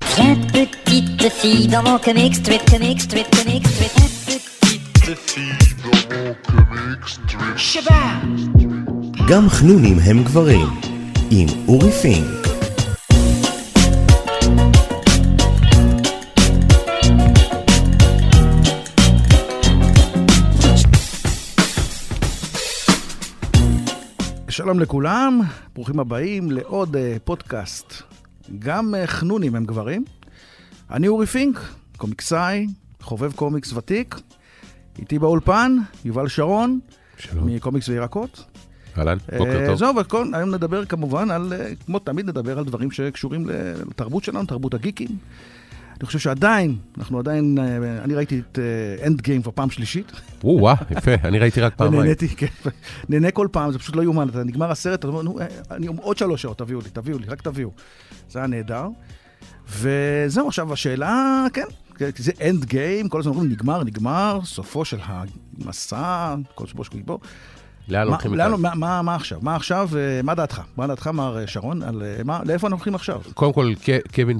Très petite fille dans mon comic strip, comic strip, comic strip. Très petite fille dans mon comic strip. שבה! גם חנונים הם גברים, עם אורי פינק. שלום לכולם, ברוכים הבאים לעוד uh, פודקאסט. גם uh, חנונים הם גברים. אני אורי פינק, קומיקסאי, חובב קומיקס ותיק. איתי באולפן, יובל שרון, שלום. מקומיקס וירקות. אהלן, בוקר אה, טוב. זהו, וכל, היום נדבר כמובן על, אה, כמו תמיד נדבר על דברים שקשורים לתרבות שלנו, תרבות הגיקים. אני חושב שעדיין, אנחנו עדיין, אה, אני ראיתי את אנד גיים כבר פעם שלישית. או-אה, יפה, אני ראיתי רק פעמיים. ונהניתי, כן. נהנה כל פעם, זה פשוט לא יאומן. אתה נגמר הסרט, אתה אומר, נו, אה, אני עוד שלוש שעות, תביאו לי, תביאו לי, רק תביאו. זה היה נהדר. וזהו, עכשיו השאלה, כן, כי זה אנד גיים, כל הזמן אומרים, נגמר, נגמר, סופו של המסע, כל שבוע שקועים בו. לאן מה- הולכים לאן- מכאן? מה- מה מה עכשיו? מה עכשיו? אה, מה דעתך? מה דעתך, מר אה, שרון? על, אה, מה- לאיפה אנחנו הולכים עכשיו? קודם כל, ק- קווין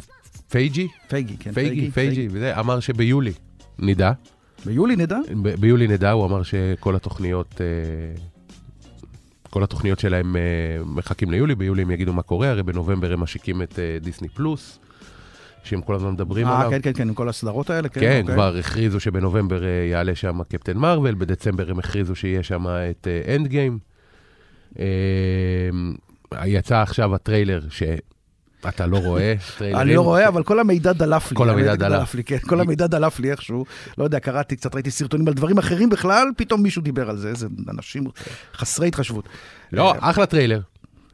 פייג'י, פייגי, כן. פייגי, פייגי, וזה, אמר שביולי נדע, ביולי נדע? ב- ביולי נדע, הוא אמר שכל התוכניות, אה, כל התוכניות שלהם אה, מחכים ליולי, ביולי הם יגידו מה קורה, הרי בנובמבר הם משיקים את אה, דיסני פלוס, שהם כל הזמן מדברים אה, עליו. כן, כן, כן, עם כל הסדרות האלה, כן. כן, אוקיי. כבר הכריזו שבנובמבר אה, יעלה שם קפטן מרוויל, בדצמבר הם הכריזו שיהיה שם את אה, אנד גיים. יצא עכשיו הטריילר שאתה לא רואה טריילרים. אני לא רואה, אבל כל המידע דלף לי. כל המידע האמת, דלף. לי, כן, כל המידע דלף לי איכשהו. לא יודע, קראתי קצת, ראיתי סרטונים על דברים אחרים בכלל, פתאום מישהו דיבר על זה. איזה אנשים חסרי התחשבות. אה, לא, אחלה טריילר.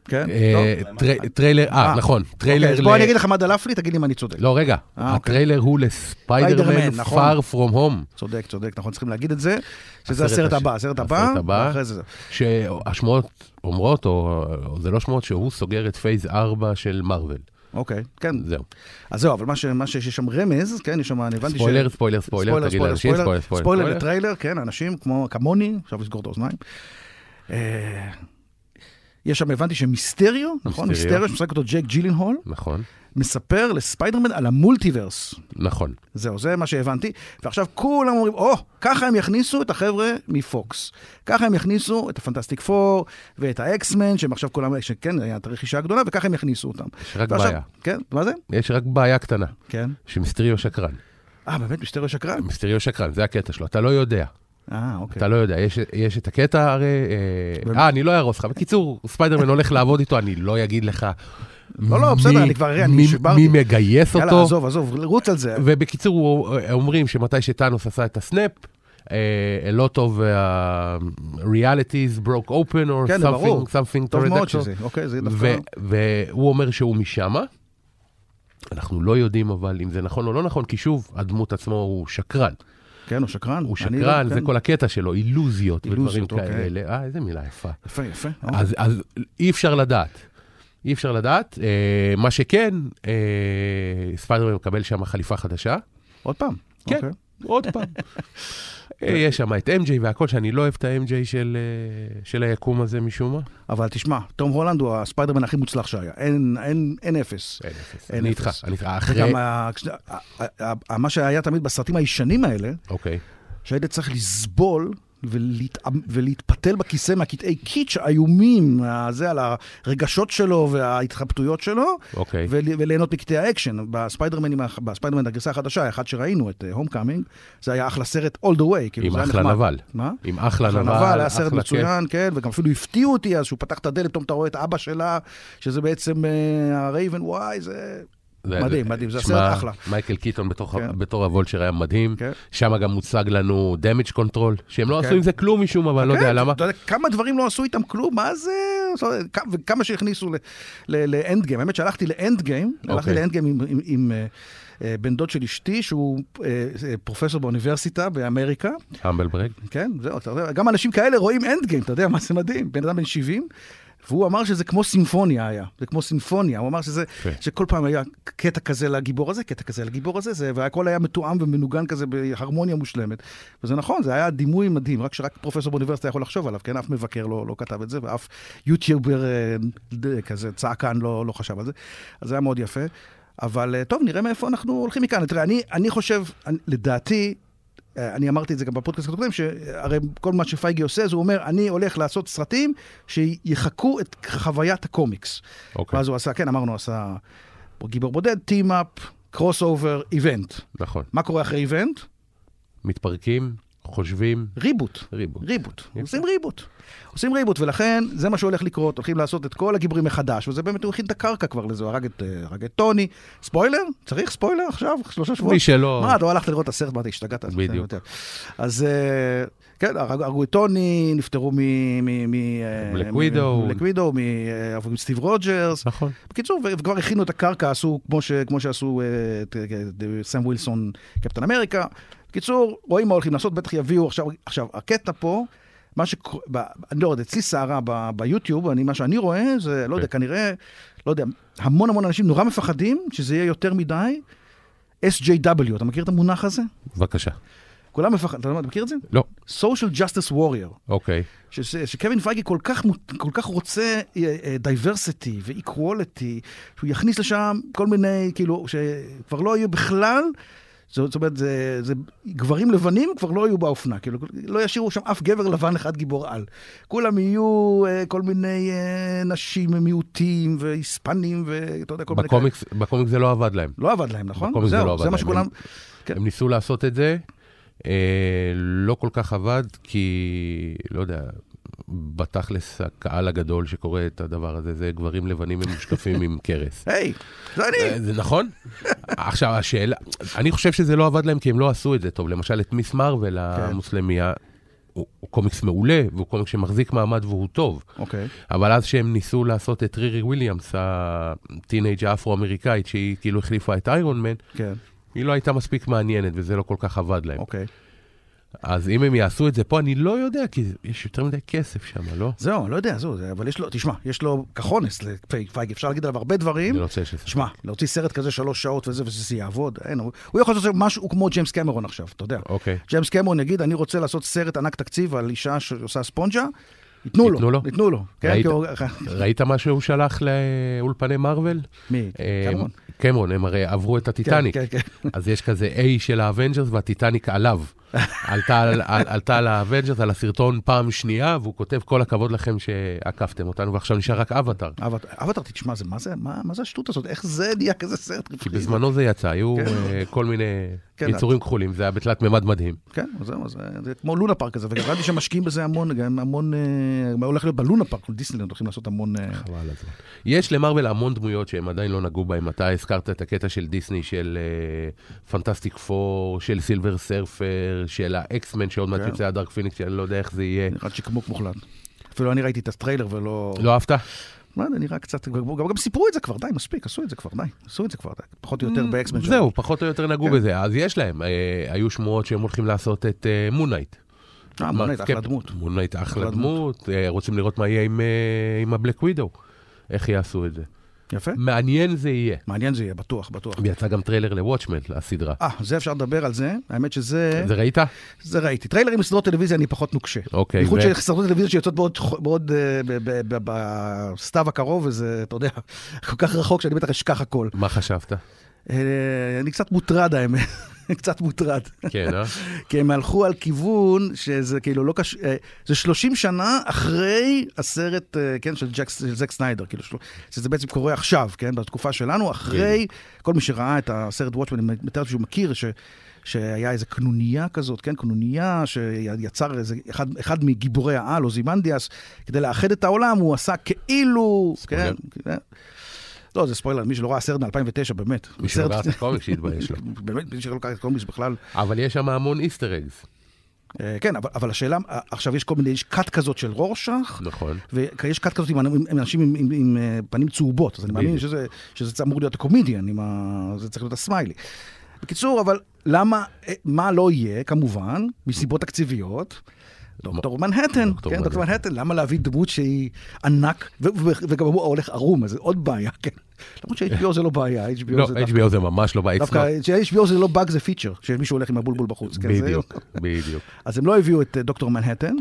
כן? אה, לא? טרי- טריילר, אה, אה, נכון, אוקיי, טריילר אז ל... בוא אני אגיד לך מה דלף לי, תגיד לי אם אני צודק. לא, רגע, אה, אוקיי. הטריילר הוא לספיידרמן, ספיידרמן, נכון. far from home, צודק, צודק, נכון, צריכים להגיד את זה, שזה הסרט הסרט הש- הבא, הסרט הבא, הסרט הבא. ואחרי זה זה. שהשמועות אומרות, או או זה לא שמועות, שהוא סוגר את פייז 4 של מארוול. אוקיי, כן. זהו. אז זהו, אבל מה ש- מה שיש שם רמז, כן, יש שם, אני הבנתי ש... ספוילר, ספוילר, ספוילר, תגיד לאנשים, ספוילר, ספוילר לטריילר, כן, אנשים כמו, כמוני, עכשיו לסגור את האוזניים. אה, יש שם, הבנתי שמיסטריו, נכון? מיסטריו. מיסטריו, שמשחק אותו ג'ק ג'ילינהול, נכון, מספר לספיידרמן על המולטיברס. נכון. זהו, זה מה שהבנתי. ועכשיו כולם אומרים, או, ככה הם יכניסו את החבר'ה מפוקס. ככה הם יכניסו את הפנטסטיק פור ואת האקסמן, שהם עכשיו כולם, שכן, הייתה רכישה גדולה, וככה הם יכניסו אותם. יש רק ועכשיו- בעיה. כן, מה זה? יש רק בעיה קטנה, כן. שמיסטריו שקרן. אה, באמת, מיסטריו שקרן? מיסטריו שקרן, זה הקטע שלו, אתה לא יודע. אה, אוקיי. אתה לא יודע, יש- יש את הקטע הרי... אה, באמת? אה, אני לא אהרוס לך. בקיצור, ספיידרמן הולך לעבוד איתו, אני לא אגיד לך... לא, לא, בסדר, מי- אני כבר- אני מי- שיברתי. מי מגייס יאללה, אותו. עזוב, עזוב, רוץ על זה. ובקיצור, הוא- אה, אומרים שמתי שטאנוס עשה את הסנאפ, אה, a lot of uh, realities broke open or כן, זה ברור. something, something טוב מאוד pterodactyl. שזה, אוקיי, זה דווקא... ו- והוא אומר שהוא משמה. אנחנו לא יודעים אבל אם זה נכון או לא נכון, כי שוב, הדמות עצמו הוא שקרן. כן, הוא שקרן. הוא אני שקרן, לא- זה כן. כל הקטע שלו, אילוזיות ודברים אילוזיות, אוקיי. כאלה. אה, איזה מילה יפה. יפה, יפה. אוקיי. אז אז אי אפשר לדעת. אי אפשר לדעת. אה, מה שכן, אה, ספיידרמן מקבל שם חליפה חדשה. עוד פעם. כן. אוקיי. עוד פעם. אה, יש שם את MJ והכל, שאני לא אוהב את ה-MJ של, אה, של היקום הזה משום מה. אבל תשמע, תום הולנד הוא הספיידרמן הכי מוצלח שהיה. אין- אין- אין אפס. אין אפס. אין אני איתך, אפס. אני איתך. אה, אחרי... וגם ה- ה- ה- ה- מה שהיה תמיד בסרטים הישנים האלה, אוקיי. שהיית צריך לסבול ולהתאמ- ולהתפתל בכיסא מהקטעי קיץ' האיומים, זה על הרגשות שלו וההתחבטויות שלו, אוקיי. ול- וליהנות מקטעי האקשן. בספיידרמנים ה- בספיידרמן הגרסה החדשה, האחד שראינו, את הום קאמינג, זה היה אחלה סרט All the way, כאילו עם זה היה אחלה נחמד. נבל. מה? עם אחלה נבל, הנבל, היה סרט אחלה מצוין, כן, וגם אפילו הפתיעו אותי אז שהוא פתח את הדלת, פתאום אתה רואה את אבא שלה, שזה בעצם אה, הרייבן, וואי, זה... זה- מדהים, מדהים, זה תשמע, סרט אחלה. מייקל קיטון בתוך- כן. בתור הוולצ'ר היה מדהים. כן. שם גם מוצג לנו damage control, שהם לא כן. עשו עם זה כלום משום מה, אבל אני לא יודע כן, למה. אתה יודע, כמה דברים לא עשו איתם כלום, מה זה... זאת אומרת, כ- וכמה שהכניסו ל- ל- לאנד גיים. האמת שהלכתי לאנד גיים, אוקיי. הלכתי לאנד גיים עם- עם- עם אה, אה, בן דוד של אשתי, שהוא אה, אה, פרופסור באוניברסיטה באמריקה, המבל ברג. כן, זהו, אתה יודע, גם אנשים כאלה רואים אנד גיים, אתה יודע מה זה מדהים, בן אדם בן 70. והוא אמר שזה כמו סימפוניה היה, זה כמו סימפוניה, הוא אמר שזה, כן. שכל פעם היה קטע כזה לגיבור הזה, קטע כזה לגיבור הזה, זה, והכל היה מתואם ומנוגן כזה בהרמוניה מושלמת. וזה נכון, זה היה דימוי מדהים, רק שרק פרופסור באוניברסיטה יכול לחשוב עליו, כן? אף מבקר לא, לא כתב את זה, ואף יוטיובר אה, ד- כזה צעקן לא, לא חשב על זה. אז זה היה מאוד יפה. אבל אה, טוב, נראה מאיפה אנחנו הולכים מכאן. תראה, אני, אני חושב, אני, לדעתי, אה, אני אמרתי את זה גם בפודקאסט הקודם, שהרי כל מה שפייגי עושה, זה הוא אומר, אני הולך לעשות סרטים שיחקו את חוויית הקומיקס. אוקיי, ואז הוא עשה, כן, אמרנו, עשה גיבור בודד, טים-אפ, קרוס אובר, איבנט. נכון. מה קורה אחרי איבנט? מתפרקים, חושבים, ריבוט. ריבוט. ריבוט. יפה. עושים ריבוט. עושים ריבוט, ולכן זה מה שהולך לקרות, הולכים לעשות את כל הגיבורים מחדש, וזה באמת, הוא הכין את הקרקע כבר לזה, הוא הרג את, אה, הרג את טוני. ספוילר? צריך ספוילר עכשיו? שלושה שבועות? מי שלא... מה, אתה לא הלכת לראות את הסרט, מה, אתה השתגעת? אז בדיוק. אתה יודע. אז אה, כן, הרג- הרגו את טוני, נפטרו מ... מ- מ- אה, בלק מ- ווידו. מבלק ווידו, מ- אה, עברו עם סטיב רוג'רס. נכון. בקיצור, ו- וכבר הכינו את הקרקע, עשו כמו, ש, כמו שעשו אה, את- את- את סם ווילסון, קפטן אמריקה. בקיצור, רואים מה הולכים לעשות, בטח יביאו עכשיו, עכשיו, הקטע פה, מה ש... אני לא יודע, אצלי סערה ב- ביוטיוב, אני, מה שאני רואה, זה, לא יודע, כנראה, לא יודע, המון המון אנשים נורא מפחדים שזה יהיה יותר מדי SJW, אתה מכיר את המונח הזה? בבקשה. כולם מפחדים, אתה יודע מה, אתה מכיר את זה? לא, Social Justice Warrior. אוקיי. ש- שקווין פייגי כל כך, מות- כל כך רוצה אה, דייברסיטי ואיקוולטי, שהוא יכניס לשם כל מיני, כאילו, שכבר לא יהיו בכלל, זאת זאת אומרת, זה, זה, גברים לבנים כבר לא יהיו באופנה, כאילו, לא ישאירו שם אף גבר לבן אחד גיבור על. כולם יהיו אה, כל מיני אה, נשים מיעוטים והיספנים ואתה יודע, כל מיני... כאלה. בקומיקס בקומיקס זה לא עבד להם. לא עבד להם, נכון? בקומיקס זה זהו, לא עבד זה להם. מה שכולם... כן. הם ניסו לעשות את זה, אה, לא כל כך עבד, כי, לא יודע, בתכלס הקהל הגדול שקורא את הדבר הזה, זה גברים לבנים עם משקפים עם קרס. היי, זה אני! אה, זה נכון? עכשיו השאלה, אני חושב שזה לא עבד להם כי הם לא עשו את זה טוב. למשל את מיס מרוויל המוסלמיה, הוא הוא קומיקס מעולה, והוא קומיקס שמחזיק מעמד והוא טוב. אוקיי. אבל אז שהם ניסו לעשות את רירי וויליאמס, הטינג' האפרו-אמריקאית, שהיא כאילו החליפה את איירון מן, כן, היא לא הייתה מספיק מעניינת וזה לא כל כך עבד להם. אוקיי. אז אם הם יעשו את זה פה, אני לא יודע, כי יש יותר מדי כסף שם, לא? זהו, לא יודע, זהו, זה- אבל יש לו, תשמע, יש לו כחונס לפייג, אפשר להגיד עליו הרבה דברים. אני לא רוצה שזה. שמע, להוציא סרט כזה שלוש שעות וזה, וזה יעבוד, אין, הוא הוא יכול לעשות משהו כמו ג'יימס קמרון עכשיו, אתה יודע. אוקיי. ג'יימס קמרון יגיד, אני רוצה לעשות סרט ענק תקציב על אישה שעושה ספונג'ה, ייתנו לו, ייתנו לו? ייתנו לו. כן, ראית? כי הוא- ראית מה שהוא שלח לאולפני מארוול? מי? אה, קמרון? קמרון, הם הרי עברו את הטיטניק. כן, כן, כן. אז יש כזה A של האבנג'רס והטיטניק עליו. עלתה על- על- עלתה על האבנג'רס, על הסרטון פעם שנייה, והוא כותב כל הכבוד לכם שעקפתם אותנו, ועכשיו נשאר רק אבטאר. אבל- אבל אתה תשמע, זה- מה זה- מה מה זה השטות הזאת? איך זה נהיה כזה סרט כי רווחי? בזמנו זה יצא, היו כן. אה, כל מיני כן, יצורים כחולים, זה היה בתלת מימד מדהים. כן, אז זהו, אז, אה, זה כמו לונה פארק הזה, וגם הבנתי שמשקיעים בזה המון, גם המון, אה, מה הולך להיות בלונה פארק, דיסנילנד הולכים לעשות המון... אה, חבל על הזמן. יש למרוויל המון דמויות שהם עדיין לא נגעו בהם. אתה הזכרת את הקטע של דיסני, של אה, פנטסטיק פור, של סילבר סרפר, של האקסמן שעוד מעט כן. יוצא הדארק פיניקס, שאני לא יודע איך זה יהיה. נראה צ'יקמוק מוחלט. אפילו אני ראיתי את הטריילר ולא... לא אהבת? מה זה נראה קצת... גם, גם, גם סיפרו את זה כבר, די, מספיק, עשו את זה כבר, די. עשו את זה כבר, די. פחות או יותר באקסמן. Mm, זהו, פחות או יותר נגעו נכון. כן. בזה. אז יש להם, אה, היו שמועות שהם הולכים לעשות את מונייט. אה, מונט, כן. אחלה דמות. מונייט אחלה אחלה דמות, אה, רוצים לראות מה יהיה עם, אה, עם הבלק ווידו, איך יעשו את זה. יפה. Mm. מעניין זה יהיה. מעניין זה יהיה, בטוח, בטוח. ויצא גם טריילר לוואטשמן, הסדרה. אה, כן. זה אפשר לדבר על זה. האמת שזה... זה ראית? זה ראיתי. טריילרים לסדרות טלוויזיה אני פחות נוקשה. אוקיי, בייחוד ו- של סדרות טלוויזיה שיוצאות בעוד, ח- בעוד אה, ב- ב- ב- בסתיו הקרוב, וזה, אתה יודע, כל כך רחוק שאני בטח אשכח הכל. מה חשבת? אה, אני קצת מוטרד האמת, קצת מוטרד. כן, אה? כי הם הלכו על כיוון שזה כאילו לא קשור, זה 30 שנה אחרי הסרט, אה, כן, של ג'ק, של זק סניידר, כאילו, של... שזה בעצם קורה עכשיו, כן, בתקופה שלנו, אחרי, כן. כל מי שראה את הסרט וואטשמן, אני מתאר שהוא מכיר, ש... שהיה איזה קנוניה כזאת, כן, קנוניה שיצר איזה, אחד, אחד מגיבורי העל, אוזימנדיאס, כדי לאחד את העולם, הוא עשה כאילו, ספוילר. כן, כן. לא, זה ספוילר, מי שלא ראה סרט מ-2009, באמת. מי שלא קרא את הקומיקס שיתבייש לו. באמת, מי שלא קרא את הקומיקס בכלל, אבל יש שם המון איסטר אגז. אה, כן, אבל, אבל השאלה, אה, עכשיו יש כל מיני, יש כת כזאת של רורשך, נכון. ויש כת כזאת עם, עם, עם אנשים עם, עם, עם אה, פנים צהובות, אז אני מאמין בדיוק. שזה, שזה אמור להיות הקומדיאן, עם ה... זה צריך להיות הסמיילי. בקיצור, אבל למה, אה, מה לא יהיה, כמובן, מסיבות תקציביות, דוקטור מנהטן, דוקטור כן, דוקטור מנהטן. מנהטן, למה להביא דמות שהיא ענק, ו- ו- וגם הוא הולך ערום, אז זה עוד בעיה, כן. למרות ש-HBO זה לא בעיה, HBO לא, זה דווקא- HBO זה ממש לא בעיה. דווקא, ש-HBO זה לא באג, זה פיצ'ר, שמישהו הולך עם הבולבול בחוץ. כן, זה- בדיוק, בדיוק. אז הם לא הביאו את אה, דוקטור מנהטן,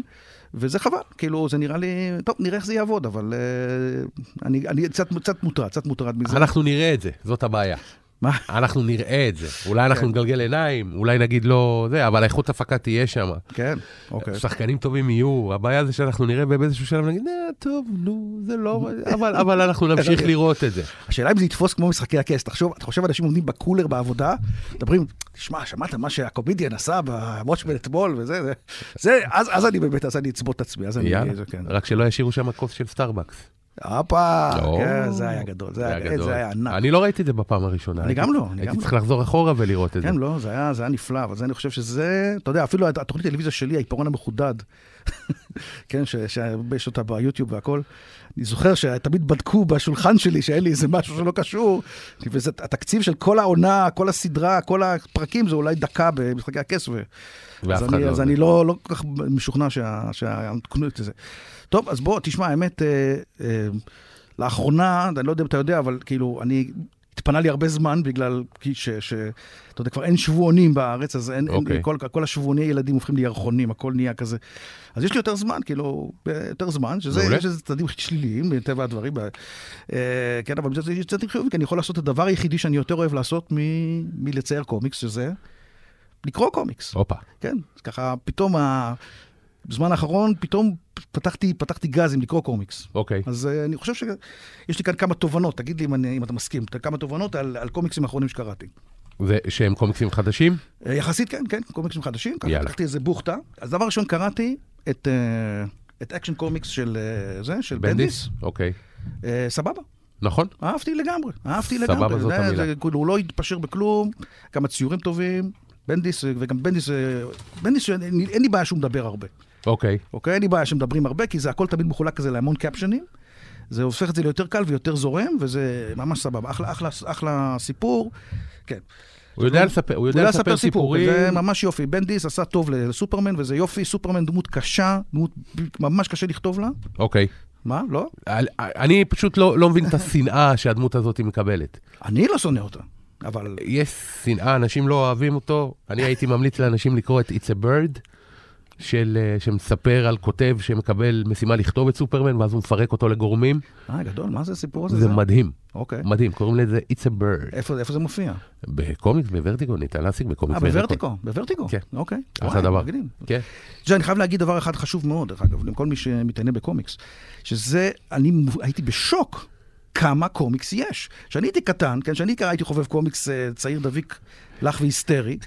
וזה חבל, כאילו, זה נראה לי, טוב, נראה איך זה יעבוד, אבל אה, אני, אני קצת, קצת מוטרד, קצת מוטרד מזה. אנחנו נראה את זה, זאת הבעיה. מה? אנחנו נראה את זה. אולי כן. אנחנו נגלגל עיניים, אולי נגיד לא זה, אבל האיכות הפקה תהיה שם. כן, אוקיי. שחקנים טובים יהיו, הבעיה זה שאנחנו נראה באיזשהו שלב, נגיד, "אה, טוב, נו, זה לא... אבל- אבל אנחנו כן, אוקיי. נמשיך לראות את זה. השאלה אם זה יתפוס כמו משחקי הכס, תחשוב, אתה חושב אנשים עומדים בקולר בעבודה, מדברים, תשמע, שמעת מה שהקומדיאן עשה בוואטשמן אתמול וזה, זה, זה, אז, אז אני באמת, אז אני אצבוט את עצמי, אז אני, יאללה, זה, כן. רק שלא ישאירו שם כוס של סטארבקס. הופה, לא. כן, זה היה גדול, זה היה, זה היה ענק. אני לא ראיתי את זה בפעם הראשונה. אני הייתי- גם לא, אני גם הייתי לא. צריך לחזור אחורה ולראות את זה. כן, לא, זה היה, זה היה נפלא, אבל זה אני חושב שזה, אתה יודע, אפילו התוכנית טלוויזיה שלי, העיפרון המחודד, כן, ש- שיש אותה ביוטיוב והכל, אני זוכר שתמיד בדקו בשולחן שלי שאין לי איזה משהו שלא קשור, וזה התקציב של כל העונה, כל הסדרה, כל הפרקים, זה אולי דקה במשחקי הכס, ו... ואף אז אחד אני, לא אז יודע. אני לא, לא כל כך משוכנע שה- שהקנוט הזה. טוב, אז בוא, תשמע, האמת, אה, אה, לאחרונה, אני לא יודע אם אתה יודע, אבל כאילו, אני, התפנה לי הרבה זמן בגלל, כי ש... ש אתה יודע, כבר אין שבועונים בארץ, אז אין, okay. אוקיי. אין כל, כל השבועוני ילדים הופכים לירחונים, הכל נהיה כזה. אז יש לי יותר זמן, כאילו, אה, יותר זמן, שזה, מעולה. יש לזה צדדים שליליים, מטבע הדברים. אה, כן, אבל מצד שני, יש צדדים חיוביים, כי אני יכול לעשות את הדבר היחידי שאני יותר אוהב לעשות מ- מלצייר קומיקס, שזה לקרוא קומיקס. הופה. כן, אז ככה פתאום, ה- בזמן האחרון, פתאום פתחתי, פתחתי גז עם לקרוא קומיקס. אוקיי. אז אה, אני חושב שיש לי כאן כמה תובנות, תגיד לי אם, אני, אם אתה מסכים, כמה תובנות על, על קומיקסים האחרונים שקראתי. זה שהם קומיקסים חדשים? אה, יחסית כן, כן, קומיקסים חדשים, ככה יאללה. לקחתי איזה בוכטה. אז דבר ראשון קראתי את... אה, את אקשן קומיקס של אה, זה, של בנדיס, בנדיס? אוקיי. אה, סבבה, נכון? אהבתי לגמרי, אהבתי סבבה, לגמרי, זאת זה- זה- המילה. כאילו, הוא לא התפשר בכלום, גם הציורים טובים, בנדיס, אה, וגם בנדיס, אה, בנדיס, אה, אין לי- אין לי בעיה שהוא מדבר הרבה, אוקיי. אוקיי? אין לי בעיה שמדברים הרבה, כי זה הכל תמיד מחולק כזה להמון קפשנים. זה הופך את זה ליותר קל ויותר זורם, וזה ממש סבבה. אחלה, אחלה, אחלה סיפור. כן. הוא יודע לספר, הוא יודע לספר סיפורים. זה ממש יופי. בנדיס עשה טוב לסופרמן, וזה יופי. סופרמן דמות קשה, דמות ממש קשה לכתוב לה. אוקיי. מה? לא? על- אני פשוט לא לא מבין את השנאה שהדמות הזאת מקבלת. אני לא שונא אותה. אבל... יש שנאה, אנשים לא אוהבים אותו. אני הייתי ממליץ לאנשים לקרוא את It's a Bird, של, אה, שמספר על כותב שמקבל משימה לכתוב את סופרמן, ואז הוא מפרק אותו לגורמים. אה, גדול, מה זה הסיפור הזה? זה מדהים, אוקיי. מדהים, קוראים לזה It's a Bird. איפה איפה זה מופיע? בקומיקס, בוורטיגו, ניתן להשיג בקומיקס. אה, בוורטיקו, בוורטיקו. כן. אוקיי. אחלה וואי, דבר. מגניב. כן, זה, אני חייב להגיד דבר אחד חשוב מאוד, דרך אגב, לכל מי שמתעניין בקומיקס, שזה, אני מ- הייתי בשוק כמה קומיקס יש. כשאני הייתי קטן, כן, כשאני הייתי חובב קומיקס אה, צעיר דביק, לח והיסטרי,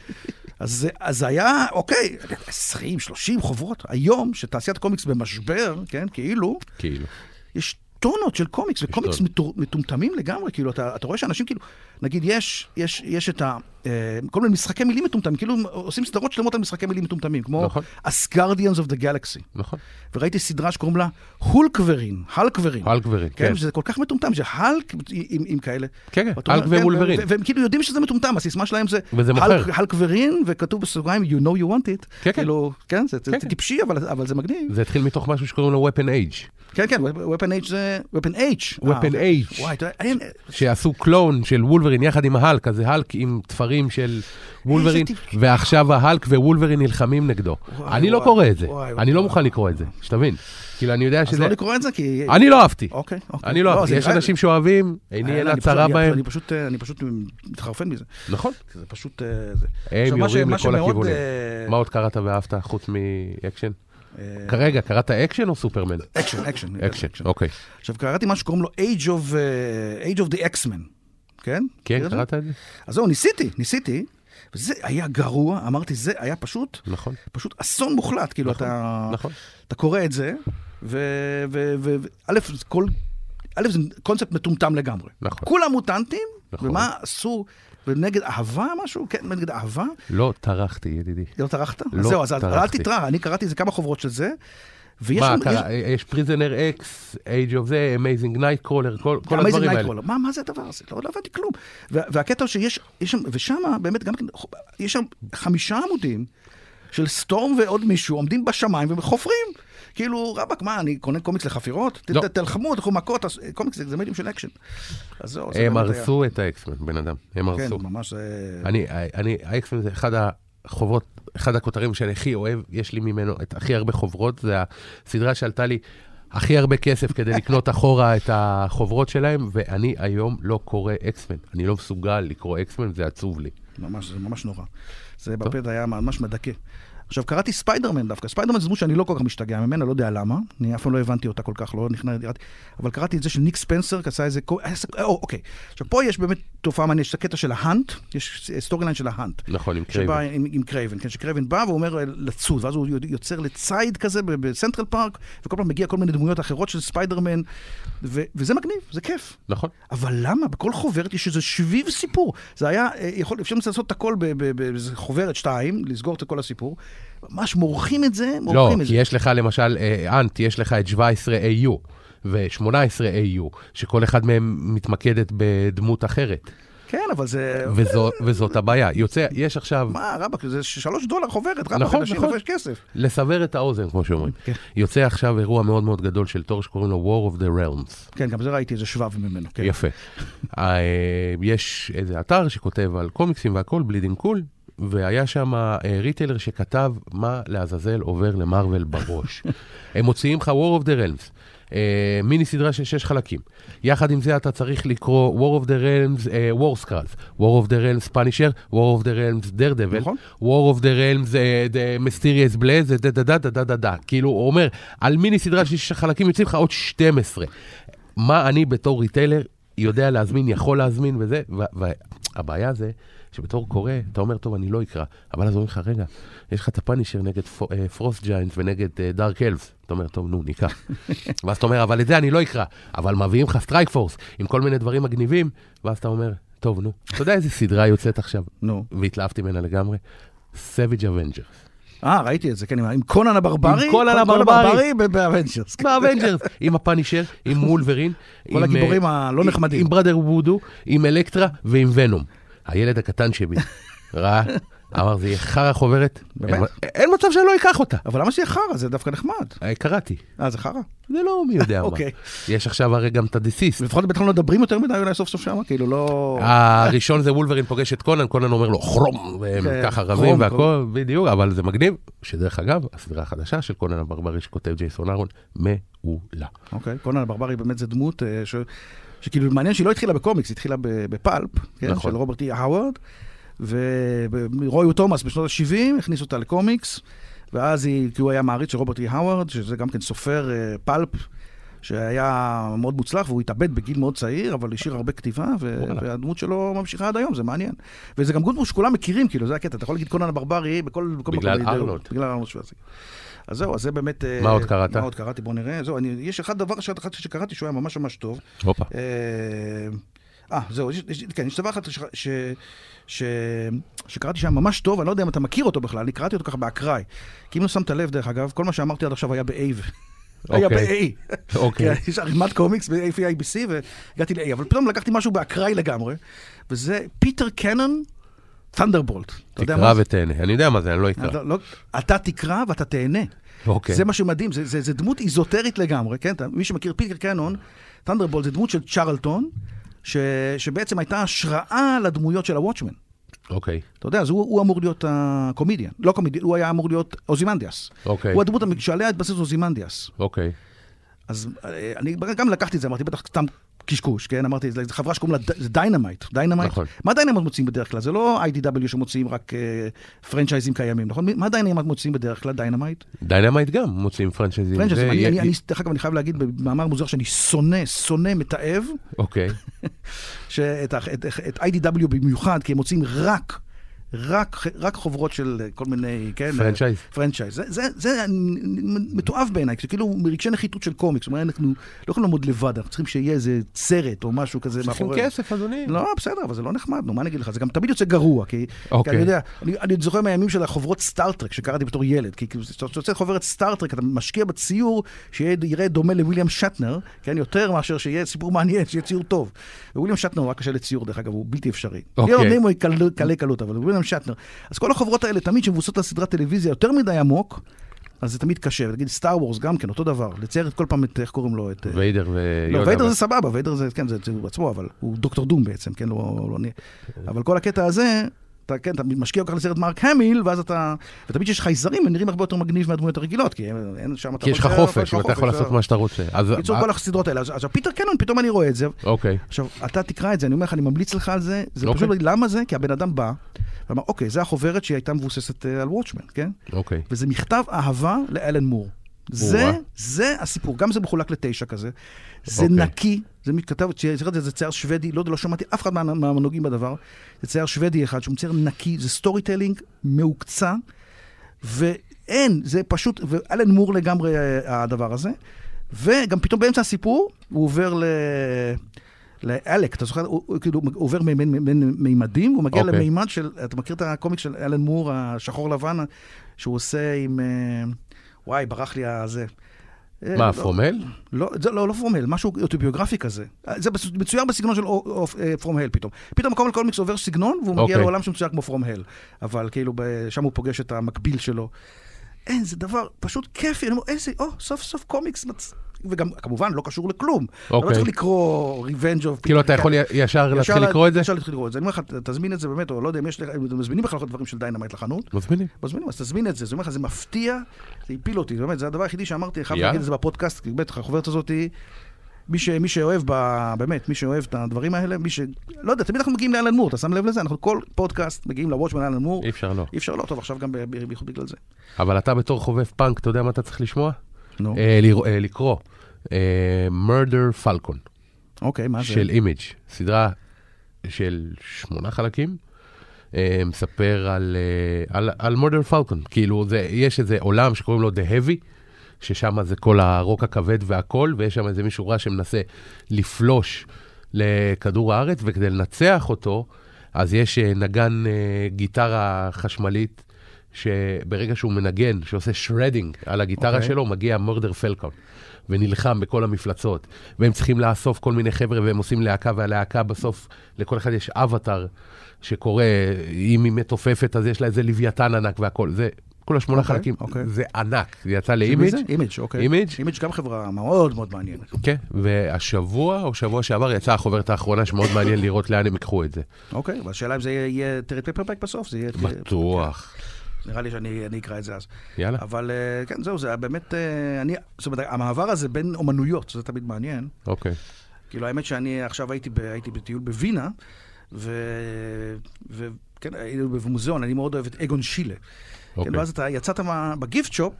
אז זה- אז זה היה, אוקיי, 20, 30 חוברות. היום, שתעשיית קומיקס במשבר, כן, כאילו, כאילו. יש טונות של קומיקס, וקומיקס טונות. מטור- מטומטמים לגמרי, כאילו, אתה, אתה רואה שאנשים כאילו, נגיד, יש, יש, יש את ה... אה, כל מיני משחקי מילים מטומטמים, כאילו עושים סדרות שלמות על משחקי מילים מטומטמים, כמו נכון. Asgardians of the Galaxy. נכון. וראיתי סדרה שקוראים לה הולקברין, הלקברין. הלקברין, כן, כן. שזה כל כך מטומטם, שהלק עם, עם, עם כאלה. כן, כן, ואתה אומר, הלק ווולברין. ו- ו- והם כאילו יודעים שזה מטומטם, הסיסמה שלהם זה... וזה מוכר. הלק- הלקברין, וכתוב בסוגריים, you know you want it. כן, כן. כאילו, כן, זה, זה כן, כן. טיפשי, אבל, אבל זה מגניב. זה התחיל מתוך משהו שקוראים לו Weapon Age, כן, כן, Weapon H זה... Weapon H. Weapon אה, אוקיי. H. וואי, אתה יודע, אין... שעשו קלון של וולברין יחד עם ההלק, אז זה הלק עם תפרים של וולברין, איזה ועכשיו ההלק ווולברין נלחמים נגדו. וואי, אני לא וואי, קורא את זה, וואי, אני לא וואי. מוכן לקרוא את זה, שתבין. כאילו, אני יודע אז שזה... לא לקרוא את זה, כי... אני לא אהבתי. אוקיי, אוקיי. אני לא אהבתי, זה יש נראה- אנשים שאוהבים, עיני אה, אינה אני צרה פשוט- בהם. אני פשוט, אה, אני פשוט מתחרפן מזה. נכון. זה פשוט... אה, זה. הם עכשיו, מה ש- יורים מה לכל שמאוד, הכיוונים. אה, מה עוד קראת ואהבת חוץ מאקשן? אה, כרגע, קראת אקשן או סופרמן? אקשן, אקשן. אקשן, אוקיי. עכשיו, קראתי משהו שקוראים לו Age of, אה, Age of the X-Men, כן? מכיר כן, את זה? קראת את זה? אז זהו, ניסיתי, ניסיתי, וזה היה גרוע, אמרתי, זה היה פשוט, נכון. פשוט אסון מוחלט, כאילו, אתה... נכון. אתה קורא את זה, וא', כל... א', זה קונספט מטומטם לגמרי. נכון. כולם מוטנטים, נכון. ומה עשו, ונגד אהבה משהו? כן, נגד אהבה? לא טרחתי, ידידי. לא טרחת? אז לא זהו, אז אל- אל טרחתי. תטרח, אני קראתי איזה כמה חוברות של זה, ויש... מה, שם- יש- קרא- יש פריזנר אקס, אייג' אוף זה, אמייזינג נייטקרולר, כל כל Amazing הדברים האלה. Nightcrawler. מה, מה זה הדבר הזה? לא, לא הבנתי כלום. וה- והקטע שיש, יש שם, ושם באמת גם כן, יש שם חמישה עמודים של סטורם ועוד מישהו עומדים בשמיים וחופרים. כאילו, רבאק, מה, אני קונה קומיקס לחפירות? ת- לא. ת- תלחמו, תלכו מכות, תעשו- קומיקס זה מילים של אקשן. אז זהו, זה הם באמת היה- הרסו את האקסמן, בן אדם. הם כן, הרסו. ממש... אה, אני, אני, האקסמן זה אחד החוברות, אחד הכותרים שאני הכי אוהב, יש לי ממנו את הכי הרבה חוברות, זה הסדרה שעלתה לי הכי הרבה כסף כדי לקנות אחורה את החוברות שלהם, ואני היום לא קורא אקסמן. אני לא מסוגל לקרוא אקסמן, זה עצוב לי. ממש, זה ממש נורא. זה בפד היה ממש מדכא. עכשיו, קראתי ספיידרמן דווקא. ספיידרמן זה דמות שאני לא כל כך משתגע ממנה, לא יודע למה. אני אף פעם לא הבנתי אותה כל כך, לא נכנעתי. אבל קראתי את זה של ניק ספנסר, עשה איזה... קו- עשה- אה, או, אוקיי. עכשיו, פה יש באמת תופעה מעניינת, יש את הקטע של ההאנט, יש סטורי ליין של ההאנט. נכון, עם שבא קרייבן. עם, עם קרייבן, כן, שקרייבן בא ואומר אה, לצוד, ואז הוא יוצר לציד כזה ב- בסנטרל פארק, וכל פעם מגיע כל מיני דמויות אחרות של ספיידרמן, ו- וזה מגניב, זה כיף. נכון. אבל למה? בכל חוברת יש איזה שביב סיפור. זה היה, אה, יכול, אפשר לעשות את הכל ב- ב- ב- באיזה חוברת שתיים, לסגור את כל הסיפור. ממש מורחים את זה, לא, מורחים את כי זה. יש לך למשל, אה, אנט, יש לך את 17 AU ו-18 AU, שכל אחד מהם מתמקדת בדמות אחרת, כן, אבל זה... וזו, וזאת הבעיה. יוצא, יש עכשיו... מה, רבאק, זה שלוש דולר חוברת, רבאק, נכון, אנשים נכון. איפה יש כסף. לסבר את האוזן, כמו שאומרים. כן. יוצא עכשיו אירוע מאוד מאוד גדול של תור שקוראים לו War of the Realms. כן, גם זה ראיתי איזה שבב ממנו. כן. יפה. אה, יש איזה אתר שכותב על קומיקסים והכל, בלידינג קול, והיה שם אה, ריטיילר שכתב מה לעזאזל עובר למרוויל בראש. הם מוציאים לך War of the Realms. אה, מיני סדרה של שש חלקים. יחד עם זה אתה צריך לקרוא War of the Realms, אה, War Scrolls, War of the Realms Punisher, War of the Realms Daredevil, נכון. War of the Realms, אה, The Mysterious Blaze, זה דה דה דה דה דה דה דה. כאילו, הוא אומר, על מיני סדרה של שישה חלקים יוצאים לך עוד 12. מה אני בתור ריטיילר יודע להזמין, יכול להזמין וזה, והבעיה זה שבתור קורא, אתה אומר, טוב, אני לא אקרא, אבל אז אומרים לך, רגע, יש לך את הפאנישר נגד אה, פרוסט ג'יינטס ונגד אה, דארק אלף. אתה אומר, טוב, נו, ניקח. ואז אתה אומר, אבל את זה אני לא אקרא, אבל מביאים לך סטרייק פורס עם כל מיני דברים מגניבים, ואז אתה אומר, טוב, נו, אתה יודע איזה סדרה יוצאת עכשיו? נו. והתלהבתי ממנה לגמרי, Savage Avengers. אה, ראיתי את זה, כן, עם- עם קונן הברברי. עם קונן קונן כן. הברברי. ב- באבנג'רס. באבנג'רס, עם הפאנישר, עם וולברין, עם, אה, הגיבורים הלא נחמדים. עם בראדר וודו, עם אלקטרה ועם ונום. הילד הקטן שבי ראה, אמר זה יהיה חרא חוברת, באמת? אין- אין מצב שאני לא אקח אותה. אבל למה שיהיה חרא? זה דווקא נחמד. אה, קראתי, אה, זה חרא? זה לא מי יודע מה. אוקיי. יש עכשיו הרי גם את הדיסיסט. לפחות בטח לא מדברים יותר מדי, אולי סוף סוף שמה, כאילו לא... הראשון זה וולברין פוגש את קונן, קונן אומר לו חרום, והם כן, ככה חרום, רבים והכל, בדיוק, אבל זה מגניב, שדרך אגב, הסדרה החדשה של קונן הברברי שכותב ג'ייסון אהרון, מעולה. אוקיי, קונן הברברי באמת זה דמות אה, ש... שכאילו מעניין שהיא לא התחילה בקומיקס, היא התחילה ב- בפלפ, כן, נכון. של רוברט אי האוורד, ורויו תומאס בשנות ה-70 הכניס אותה לקומיקס, ואז היא, כי הוא היה מעריץ של רוברט אי האוורד, שזה גם כן סופר אה, פלפ, שהיה מאוד מוצלח, והוא התאבד בגיל מאוד צעיר, אבל השאיר הרבה כתיבה, ו... וואלה. והדמות שלו ממשיכה עד היום, זה מעניין. וזה גם דמות שכולם מכירים, כאילו, זה הקטע, אתה יכול להגיד קונן הברברי בכל... בכל בגלל מקום, ארנולד. בגלל ארנולד שוורצנגר. אז זהו, אז זה באמת... אה, מה עוד קראת? מה עוד קראתי? בוא נראה. זהו, אני, יש אחד דבר אחד אחד שקראתי שהוא היה ממש ממש טוב. הופה. אה, אה, זהו, יש, יש, כן, יש דבר אחד ש, ש, ש, שקראתי שהיה ממש טוב, אני לא יודע אם אתה מכיר אותו בכלל, אני קראתי אותו ככה באקראי. כי אם לא שמת לב, דרך אגב, כל מה שאמרתי עד עכשיו היה ב-A. היה אוקיי. ב-A. אוקיי. כן, יש ערימת קומיקס ב-AFC, והגעתי ל-A, אבל פתאום לקחתי משהו באקראי לגמרי, וזה פיטר קנון, תנדרבולט. אתה יודע תקרא מה זה? ותהנה, אני יודע מה זה, אני לא אקרא. אתה לא- אתה תקרא ואתה תהנה. אוקיי. זה מה שמדהים, זה, זה, זה דמות איזוטרית לגמרי, כן? אתה- מי שמכיר פיטר קנון, תנדרבול זה דמות של צ'רלטון, ש, שבעצם הייתה השראה לדמויות של הוואטשמן. אוקיי. אתה יודע, אז הוא, הוא אמור להיות הקומדיאן, לא קומדיאן, הוא היה אמור להיות אוזימנדיאס. אוקיי. הוא הדמות המ- שעליה התבסס אוזימנדיאס. אוקיי. אז אה, אני גם לקחתי את זה, אמרתי, בטח סתם קשקוש, כן? אמרתי, זו חברה שקוראים לה ד- זה דיינמייט. דיינמייט. נכון. מה דיינמייט מוצאים בדרך כלל? זה לא IDW שמוציאים רק אה, פרנצ'ייזים קיימים, נכון? מה דיינמייט מוציאים בדרך כלל? דיינמייט? דיינמייט גם מוציאים פרנצ'ייזים. פרנצ'ייזים. זה אני- י- אני, י- אני- דרך אגב, אני חייב להגיד במאמר מוזר שאני שונא, שונא, מתעב, אוקיי. שאת ה- את- את IDW במיוחד, כי הם מוצאים רק... רק, רק חוברות של אה, כל מיני, כן? אה, פרנצ'ייז. פרנצ'ייז. זה, זה, זה מתועב בעיניי, זה כאילו מרגשי נחיתות של קומיקס. זאת אומרת, אנחנו לא יכולים לעמוד לבד, אנחנו צריכים שיהיה איזה סרט או משהו כזה צריכים מאחורי. כסף, אדוני. לא, בסדר, אבל זה לא נחמד, נו, מה אני אגיד לך? זה גם תמיד יוצא גרוע, כי, כי אוקיי. אני יודע, אני, אני עוד זוכר מהימים של החוברות סטארטרק שקראתי בתור ילד, כי כאילו, כשאתה יוצא חוברת סטארטרק, אתה משקיע בציור שיראה דומה לוויליאם שטנר, כן, יותר מאשר שיהיה סיפור מעניין, שיהיה ציור טוב. וויליאם שטנר הוא רק קשה לציור, דרך אגב, הוא בלתי אפשרי. אוקיי. ליאון נימו היא קל- קלי קלות, אבל וויליאם שטנר. אז כל החוברות האלה תמיד שמבוססות על סדרת טלוויזיה יותר מדי עמוק, אז זה תמיד קשה. נגיד סטאר וורס גם כן, אותו דבר. לצייר את כל פעם את, איך קוראים לו? את... אה, ויידר ו... לא, ויידר זה סבבה, ויידר זה, כן, זה זה הוא עצמו, אבל הוא דוקטור דום בעצם, כן, לא, לא אני... אבל כל הקטע הזה, אתה, כן, אתה משקיע כל כך לסרט מרק המיל, ואז אתה... ותמיד כשיש חייזרים, הם נראים הרבה יותר מגניב מהדמויות הרגילות, כי אין- אין שם... אתה כי יש לך רוצה- חופש, ואתה יכול חופש, לעשות אה. מה שאתה רוצה. אז... בקיצור, אה, כל הסדרות האלה. אז- עכשיו, פיטר קנון, פתאום אני רואה את זה. אוקיי. עכשיו, אתה תקרא את זה, אני אומר לך, אני ממליץ לך על זה. זה אוקיי. פשוט, למה זה? כי הבן אדם בא, ואמר, אוקיי, זה החוברת שהייתה מבוססת אה, על וואטשמן, כן? אוקיי. וזה מכתב אהבה לאלן מור. זה, אוה. זה הסיפור, גם זה מחולק לתשע כזה. זה אוקיי. נקי, זה מתכתב, צריך לדעת, זה צייר שוודי, לא יודע, לא שמעתי אף אחד מה- מהנוגעים בדבר. זה צייר שוודי אחד שהוא מצייר נקי, זה סטורי טיילינג מהוקצע, ואין, זה פשוט, ואלן מור לגמרי אה, הדבר הזה. וגם פתאום באמצע הסיפור, הוא עובר ל... לאלק, אתה זוכר, הוא, הוא כאילו הוא עובר בין- בין בין מימדים, הוא מגיע okay. אוקיי. למימד של, אתה מכיר את הקומיק של אלן מור, השחור לבן, שהוא עושה עם, אה, וואי, ברח לי הזה. אה, מה, לא, פרומל? לא, זה לא, לא פרומל, משהו אוטוביוגרפי כזה. אה, זה בס- מצויר בסגנון של פרומהל פתאום. פתאום הכל קומיקס עובר סגנון, והוא מגיע אוקיי. לעולם שמצויר כמו פרומהל. אבל כאילו, ב- שם הוא פוגש את המקביל שלו. אין, זה דבר פשוט כיפי, אני אומר, איזה, או, סוף סוף קומיקס. מצ- וגם, כמובן, לא קשור לכלום. אתה לא אוקיי. צריך לקרוא Revenge of... כאילו, Peter אתה יכול Pan. י- כן. ישר ישר להתחיל לה- לקרוא את זה? ישר להתחיל לקרוא את זה. אני אומר לך, ת- תזמין את זה באמת, או לא יודע אם יש לך, אם אתם מזמינים בכלל דברים של דיינמייט לחנות. מזמינים. מזמינים, אז תזמין את זה. זה אומר לך, זה מפתיע, זה הפיל אותי. באמת, זה הדבר היחידי שאמרתי, חייב יאללה. להגיד את זה בפודקאסט, כי בטח החוברת הזאת היא... מי, ש, מי שאוהב, ב, באמת, מי שאוהב את הדברים האלה, מי ש... לא יודע, תמיד אנחנו מגיעים לאלן מור, אתה שם לב לזה? אנחנו כל פודקאסט מגיעים לוואטשמן אלן מור. אי אפשר לא. אי אפשר לא, טוב, עכשיו גם ב- ב- בייחוד בגלל זה. אבל אתה בתור חובב פאנק, אתה יודע מה אתה צריך לשמוע? נו, אה, לרא- אה, לקרוא. אה, Murder Falcon אוקיי, מה זה? של אימג', סדרה של שמונה חלקים. אה, מספר על, אה, על, על Murder Falcon, כאילו זה, יש איזה עולם שקוראים לו The Heavy, ששם זה כל הרוק הכבד והכל, ויש שם איזה מישהו רע שמנסה לפלוש לכדור הארץ, וכדי לנצח אותו, אז יש אה, נגן אה, גיטרה חשמלית, שברגע שהוא מנגן, שעושה שרדינג על הגיטרה okay. אוקיי. שלו, מגיע מורדר פלקון, ונלחם בכל המפלצות. והם צריכים לאסוף כל מיני חבר'ה, והם עושים להקה, והלהקה בסוף, לכל אחד יש אבטאר שקורא, אם היא מתופפת, אז יש לה איזה לוויתן ענק והכל. זה, כל השמונה okay, אוקיי, חלקים, okay. אוקיי. זה ענק, זה יצא של מי לאימג'. זה? אימג', אוקיי. אימג'? אימג' גם חברה מאוד מאוד מעניינת. כן, והשבוע או שבוע שעבר יצאה החוברת האחרונה שמאוד מעניין לראות לאן הם ייקחו את זה. אוקיי, והשאלה אם זה יהיה- יהיה טריט פייפרבק בסוף, זה יהיה... בטוח. נראה לי שאני אני אקרא את זה אז. יאללה. אבל אה, כן, זהו, זה היה באמת, אה, אני, זאת אומרת, המעבר הזה בין אומנויות, זה תמיד מעניין. אוקיי. כאילו, האמת שאני עכשיו הייתי, ב, הייתי בטיול בווינה, ו... ו כן, היינו במוזיאון, אני מאוד אוהב את אגון שילה. אוקיי. כן, ואז אתה יצאת מה, בגיפט שופ,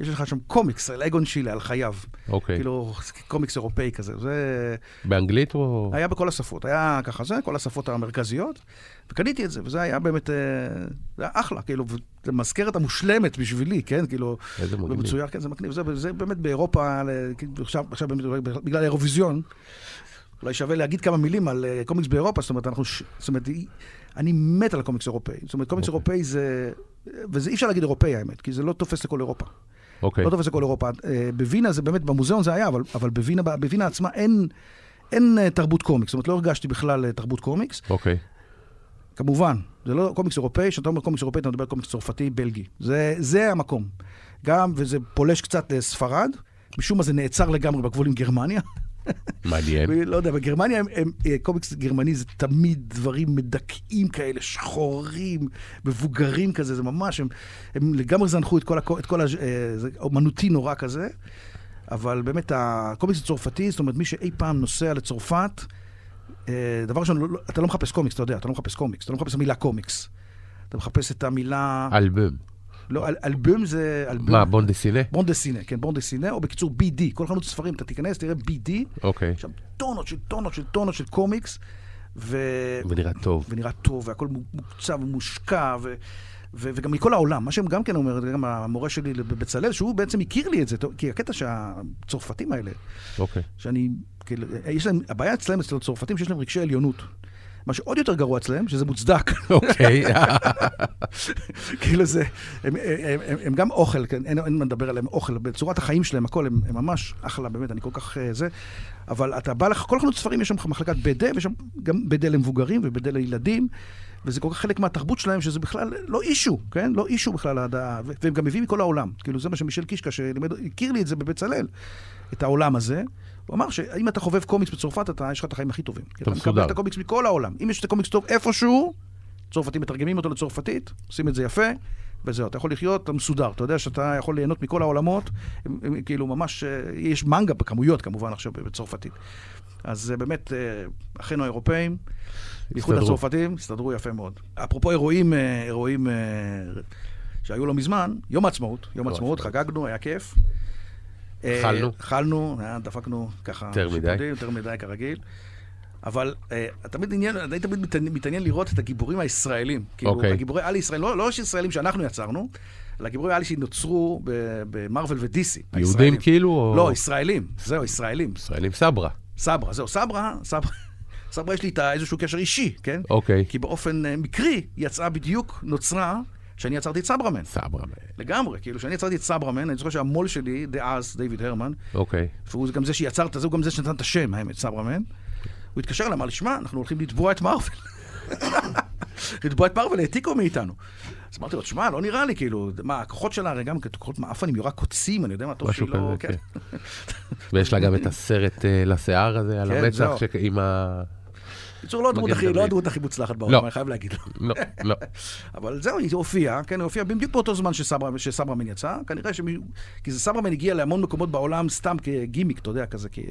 יש לך שם קומיקס על אגון שילה, על חייו. אוקיי. כאילו, קומיקס אירופאי כזה. זה... באנגלית או... היה בכל השפות, היה ככה זה, כל השפות המרכזיות, וקניתי את זה, וזה היה באמת, אה, זה היה אחלה, כאילו, זו מזכרת המושלמת בשבילי, כן, כאילו, איזה מגניב. ומצויר, כן, זה מגניב, זה, זה באמת באירופה, ל- כאילו, עכשיו, עכשיו באמת, אולי בגלל האירוויזיון, אולי שווה להגיד כמה מילים על אה, קומיקס באירופה, זאת אומרת, אנחנו, ש- זאת אומרת, היא- אני מת על הקומיקס האירופאי, זאת אומרת, אוקיי. קומיקס אירופאי זה, וזה אי אפשר להגיד אירופאי האמת, כי זה לא תופס לכל אירופה. אוקיי. לא תופס לכל אירופה. אה, בווינה זה באמת, במוזיאון זה היה, אבל, אבל בווינה, בווינה עצמה אין, אין אה, תרבות קומיקס. זאת אומרת, לא הרגשתי בכלל אה, תרבות קומיקס. אוקיי. כמובן, זה לא קומיקס אירופאי, כשאתה אומר קומיקס אירופאי, אתה מדבר על קומיקס צרפתי, בלגי. זה, זה המקום. גם, וזה פולש קצת לספרד, משום מה זה נעצר לגמרי בגבול עם גרמניה. מעניין. לא יודע, בגרמניה, הם, הם, אה, קומיקס גרמני זה תמיד דברים מדכאים כאלה, שחורים, מבוגרים כזה, זה ממש, הם, הם לגמרי זנחו את כל, הכל- את כל הז'- אה, זה אומנותי נורא כזה, אבל באמת הקומיקס הצרפתי, זאת אומרת, מי שאי פעם נוסע לצרפת, אה, דבר ראשון, לא, לא, אתה לא מחפש קומיקס, אתה יודע, אתה לא מחפש קומיקס, אתה לא מחפש את המילה קומיקס. אתה מחפש את המילה, אלבום. לא, אל, אלבום זה, אלבום, מה, בון דסינה? בון דה סינה, כן, בון דה סינה, או בקיצור BD, כל חנות ספרים, אתה תיכנס, תראה BD, אוקיי. שם טונות של טונות של טונות של קומיקס, ו... ונראה טוב. ונראה טוב, והכל מו- מוקצב ומושקע, ו... ו... וגם מכל העולם. מה שהם גם כן אומרת, גם המורה שלי בבצלאל, שהוא בעצם הכיר לי את זה, טוב, כי הקטע שהצרפתים האלה, אוקיי. שאני, כאילו, יש להם, הבעיה אצלם, אצל הצרפתים, שיש להם רגשי עליונות. מה שעוד יותר גרוע אצלם, שזה מוצדק. אוקיי. כאילו זה, הם, הם, הם, הם גם אוכל, כן, אין, אין מה לדבר עליהם, אוכל, בצורת החיים שלהם, הכל, הם, הם ממש אחלה, באמת, אני כל כך אה, זה. אבל אתה בא לך, כל חנות ספרים, יש שם מחלקת בדה, ויש שם גם בדה למבוגרים ובדה לילדים, וזה כל כך חלק מהתרבות שלהם, שזה בכלל לא אישו, כן? לא אישו בכלל, עד ה- ו- והם גם מביאים מכל העולם. כאילו, זה מה שמישל קישקה, שלימד, הכיר לי את זה בבצלאל, את העולם הזה. הוא אמר שאם אתה חובב קומיקס בצרפת, אתה, יש לך את החיים הכי טובים. כי אתה מקבל מסודר. את הקומיקס מכל העולם. אם יש את הקומיקס טוב איפשהו, צרפתים מתרגמים אותו לצרפתית, עושים את זה יפה, וזהו, אתה יכול לחיות, אתה מסודר, אתה יודע שאתה יכול ליהנות מכל העולמות, הם, הם, כאילו ממש, אה, יש מנגה בכמויות כמובן עכשיו בצרפתית. אז זה באמת, אה, אחינו האירופאים, בייחוד הסתדרו. הצרפתים, הסתדרו יפה מאוד. אפרופו אירועים, אה, אירועים אה, שהיו לא מזמן, יום העצמאות, יום יום העצמאות, העצמאות. חגגנו, היה כיף. אכלנו. אכלנו, אה, דפקנו ככה. יותר מדי. שיפודים, יותר מדי כרגיל. אבל אה, תמיד עניין, אני תמיד מתעניין- מתעניין לראות את הגיבורים הישראלים. כאילו, אוקיי. הגיבורי על ישראל, לא, לא ישראלים שאנחנו יצרנו, אלא הגיבורי על שנוצרו ב- במרוויל ודיסי. יהודים הישראלים. כאילו? או- לא, ישראלים, זהו, ישראלים. ישראלים סברה. סברה, זהו, סברה, סברה, סברה יש לי איתה איזשהו קשר אישי, כן? אוקיי. כי באופן אה, מקרי יצאה בדיוק, נוצרה, שאני יצרתי את סברמן. סברה. לגמרי, כאילו, כשאני יצרתי את סברמן, אני זוכר שהמו"ל שלי, דאז, דיוויד הרמן, אוקיי. והוא גם זה שיצר את זה, הוא גם זה שנתן את השם, האמת, סברמן. הוא התקשר אליי, אמר לי, שמע, אנחנו הולכים לתבוע את מארוול. לתבוע את מארוול, העתיקו מאיתנו. אז אמרתי לו, שמע, לא נראה לי, כאילו, מה, הכוחות שלה הרי גם כוחות מעפנים, יורה קוצים, אני יודע מה, טוב משהו שהיא לא... כזה, כן. ויש לה גם את הסרט אה, לשיער הזה, על כן, המצח, זהו. שכ- עם ה... בקיצור, לא הדמות מגן הכי- לא דוד. הדמות הכי מוצלחת לא. בעולם, אני חייב להגיד. לא, לא. אבל זהו, היא הופיעה, כן, היא הופיעה בדיוק באותו זמן שסברה- שסברמן יצא, כנראה שמישהו, כי זה סברמן הגיע להמון מקומות בעולם סתם כגימיק, אתה יודע, כזה, כי...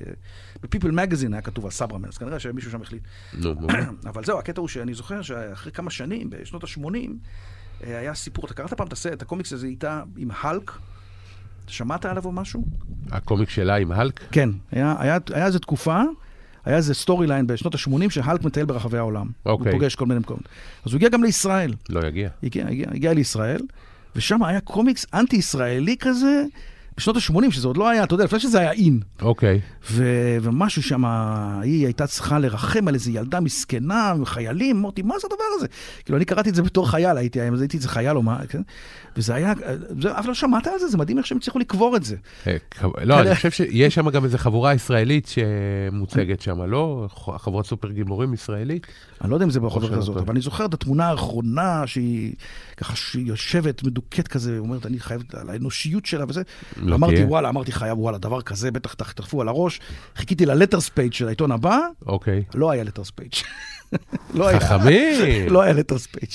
בפיפל מגזין היה כתוב על סברמן, אז כנראה שמישהו שם החליט. נו, נו. אבל זהו, הקטע הוא שאני זוכר שאחרי כמה שנים, בשנות ה-80, היה סיפור, אתה קראת פעם את הסרט, את הקומיקס הזה איתה עם האלק? אתה שמעת עליו או משהו? הקומיק שלה עם האלק? כן, היה, היה, היה איזו תקופה, היה איזה סטורי ליין בשנות ה-80 שהאלק מטייל ברחבי העולם. אוקיי. הוא פוגש כל מיני מקומות. אז הוא הגיע גם לישראל. לא יגיע. הגיע, הגיע, הגיע לישראל, ושם היה קומיקס אנטי-ישראלי כזה, בשנות ה-80, שזה עוד לא היה, אתה יודע, לפני שזה היה אין. אוקיי. ו- ומשהו שם, היא הייתה צריכה לרחם על איזו ילדה מסכנה, חיילים, אמרתי, מה זה הדבר הזה? כאילו, אני קראתי את זה בתור חייל, הייתי, אז הייתי איזה חייל או מה, כן? וזה היה, זה, אף לא שמעת על זה, זה מדהים איך שהם הצליחו לקבור את זה. אה, כ- לא, כנראה. אני חושב שיש שם גם איזו חבורה ישראלית שמוצגת שם, לא? ח- חבורת סופר גיבורים ישראלית? אני לא יודע אם זה בחוברת לא הזאת, טוב. אבל אני זוכר את התמונה האחרונה שהיא ככה שהיא יושבת מדוכאת כזה, ואומרת, אני חייבת על האנושיות שלה וזה. לא אמרתי, תהיה. וואלה, אמרתי, חייב, וואלה, דבר כזה, בטח תחטפו על הראש. חיכיתי ללטרס פייג' של העיתון הבא, אוקיי. לא היה לטרס פייג'. לא היה. חכמים! לא היה לטרס פייג'.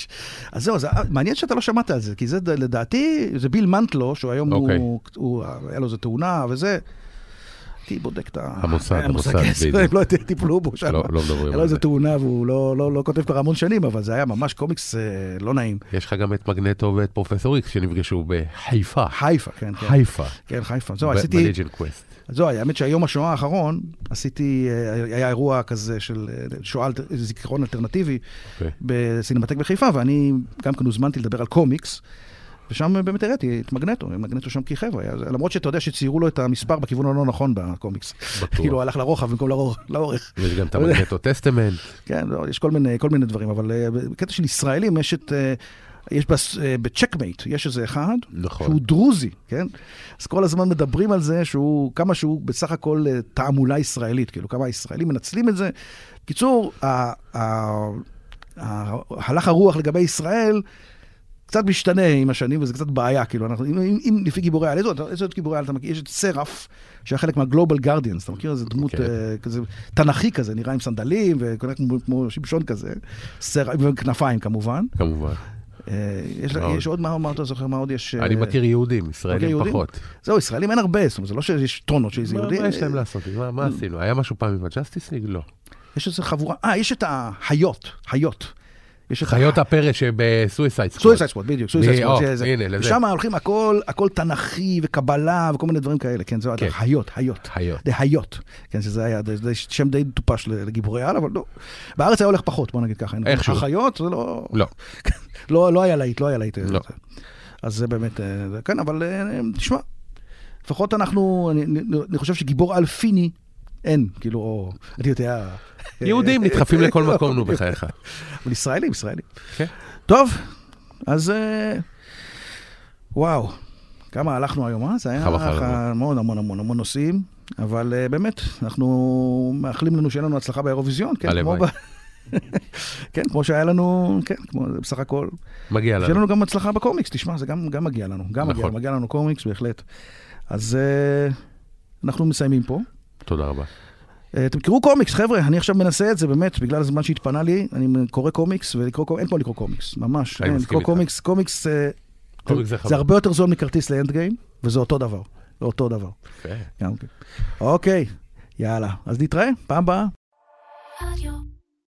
אז זהו, זה מעניין שאתה לא שמעת על זה, כי זה לדעתי, זה ביל מנטלו, שהוא היום, אוקיי. הוא- הוא- היה לו איזה תאונה וזה. הייתי בודק את ה... המוסד, המוסד, כן, בדיוק. הם לא יודע, טיפלו בו שם. לא מדברים היה על לו איזה זה. תאונה והוא לא- לא לא כותב כבר המון שנים, אבל זה היה ממש קומיקס אה, לא נעים. יש לך גם את מגנטו ואת פרופסור איקס שנפגשו בחיפה. חיפה, כן, כן. חיפה. כן, חיפה. זהו, ב- עשיתי... בליג'ן קווסט. זהו, האמת שהיום השואה האחרון, עשיתי, אה, היה אירוע כזה של אה, שואה, אלטר- זיכרון אלטרנטיבי אוקיי. בסינמטק בחיפה, ואני גם כן הוזמנתי לדבר על קומיקס, ושם אה, באמת הראיתי את מגנטו, מגנטו שם כיכב, היה- למרות שאתה יודע שציירו לו את המספר בכיוון הלא נכון בקומיקס. בטוח. כאילו, הוא הלך לרוחב במקום לאור- לאורך. ויש גם את המגנטו טסטמנט. כן, לא, יש כל מיני, כל מיני דברים, אבל אה, בקטע של ישראלים יש את... אה, יש בס- אה, בצ'קמייט, יש איזה אחד, נכון. שהוא דרוזי, כן? אז כל הזמן מדברים על זה שהוא, כמה שהוא בסך הכל אה, תעמולה ישראלית, כאילו כמה הישראלים מנצלים את זה. בקיצור, ה- ה- ה- הלך הרוח לגבי ישראל קצת משתנה עם השנים, וזה קצת בעיה, כאילו, אנחנו, אם, אם, אם לפי גיבורי על, איזה עוד- איזה עוד גיבורי על אתה מכיר? יש את סרף, שהיה חלק מהגלובל גרדיאנס, אתה מכיר איזה דמות אוקיי. אה, כזה, תנכי כזה, נראה עם סנדלים, וכנראה כמו, כמו שמשון כזה, סרף, עם כנפיים כמובן. כמובן. אה, יש, מה עוד? יש עוד מה, מה אתה זוכר, מה עוד יש? אני אה, מכיר אוקיי, יהודים, מכיר ישראלים אוקיי, יהודים? פחות. זהו, ישראלים אין הרבה, זאת אומרת, זה לא שיש טונות של איזה מה- יהודים. מה אה, יש להם לעשות? מה- מה עשינו? היה משהו פעם עם הג'סטיס ליג? לא. יש איזה חבורה, אה, יש את החיות, חיות. יש את חיות הפרא שבסויסייד סקוואד. סויסייד ספוט, בדיוק, סויסייד מי- או, ספוט. הנה, לזה. ושם הולכים הכל, הכל תנכי וקבלה וכל מיני דברים כאלה, כן, זה כן. חיות, חיות. חיות. דהיות. כן, שזה היה, זה זה שם די מטופש לגיבורי על, אבל לא. בארץ היה הולך פחות, בוא נגיד ככה. איכשהו. החיות, זה לא... לא. לא, לא היה להיט, לא היה להיט. לא. אז זה באמת, אה, זה- כן, אבל אה, תשמע, לפחות אנחנו, אני- אני- אני חושב שגיבור על פיני אין, כאילו, או, אני יודע... אה, יהודים נדחפים לכל מקום, נו, בחייך. אבל ישראלים, ישראלים. כן. טוב, אז אה, וואו, כמה הלכנו היום, אה? זה היה חבל, חבל. ככה המון המון המון המון נושאים, אבל אה, באמת, אנחנו מאחלים לנו שיהיה לנו הצלחה באירוויזיון, כן? הלוואי. כמו ב- כן, כמו שהיה לנו, כן, כמו, בסך הכל. מגיע שיהיה לנו. לנו גם הצלחה בקומיקס, תשמע, זה גם, גם מגיע לנו. גם מגיע, נכון. מגיע לנו קומיקס, בהחלט. אז אה, אנחנו מסיימים פה. תודה רבה. אה, אתם תקראו קומיקס, חבר'ה, אני עכשיו מנסה את זה, באמת, בגלל הזמן שהתפנה לי, אני קורא קומיקס, ולקרוא קומיקס, אין פה לקרוא קומיקס, ממש. אני אין, מסכים לקרוא איתך. קומיקס, קומיקס, אה, קומיקס זה זה חבל. הרבה יותר זול מכרטיס לאנד גיים, וזה אותו דבר. זה אותו דבר. יפה. גם כן. אוקיי, יאללה, אז נתראה, פעם הבאה. Radio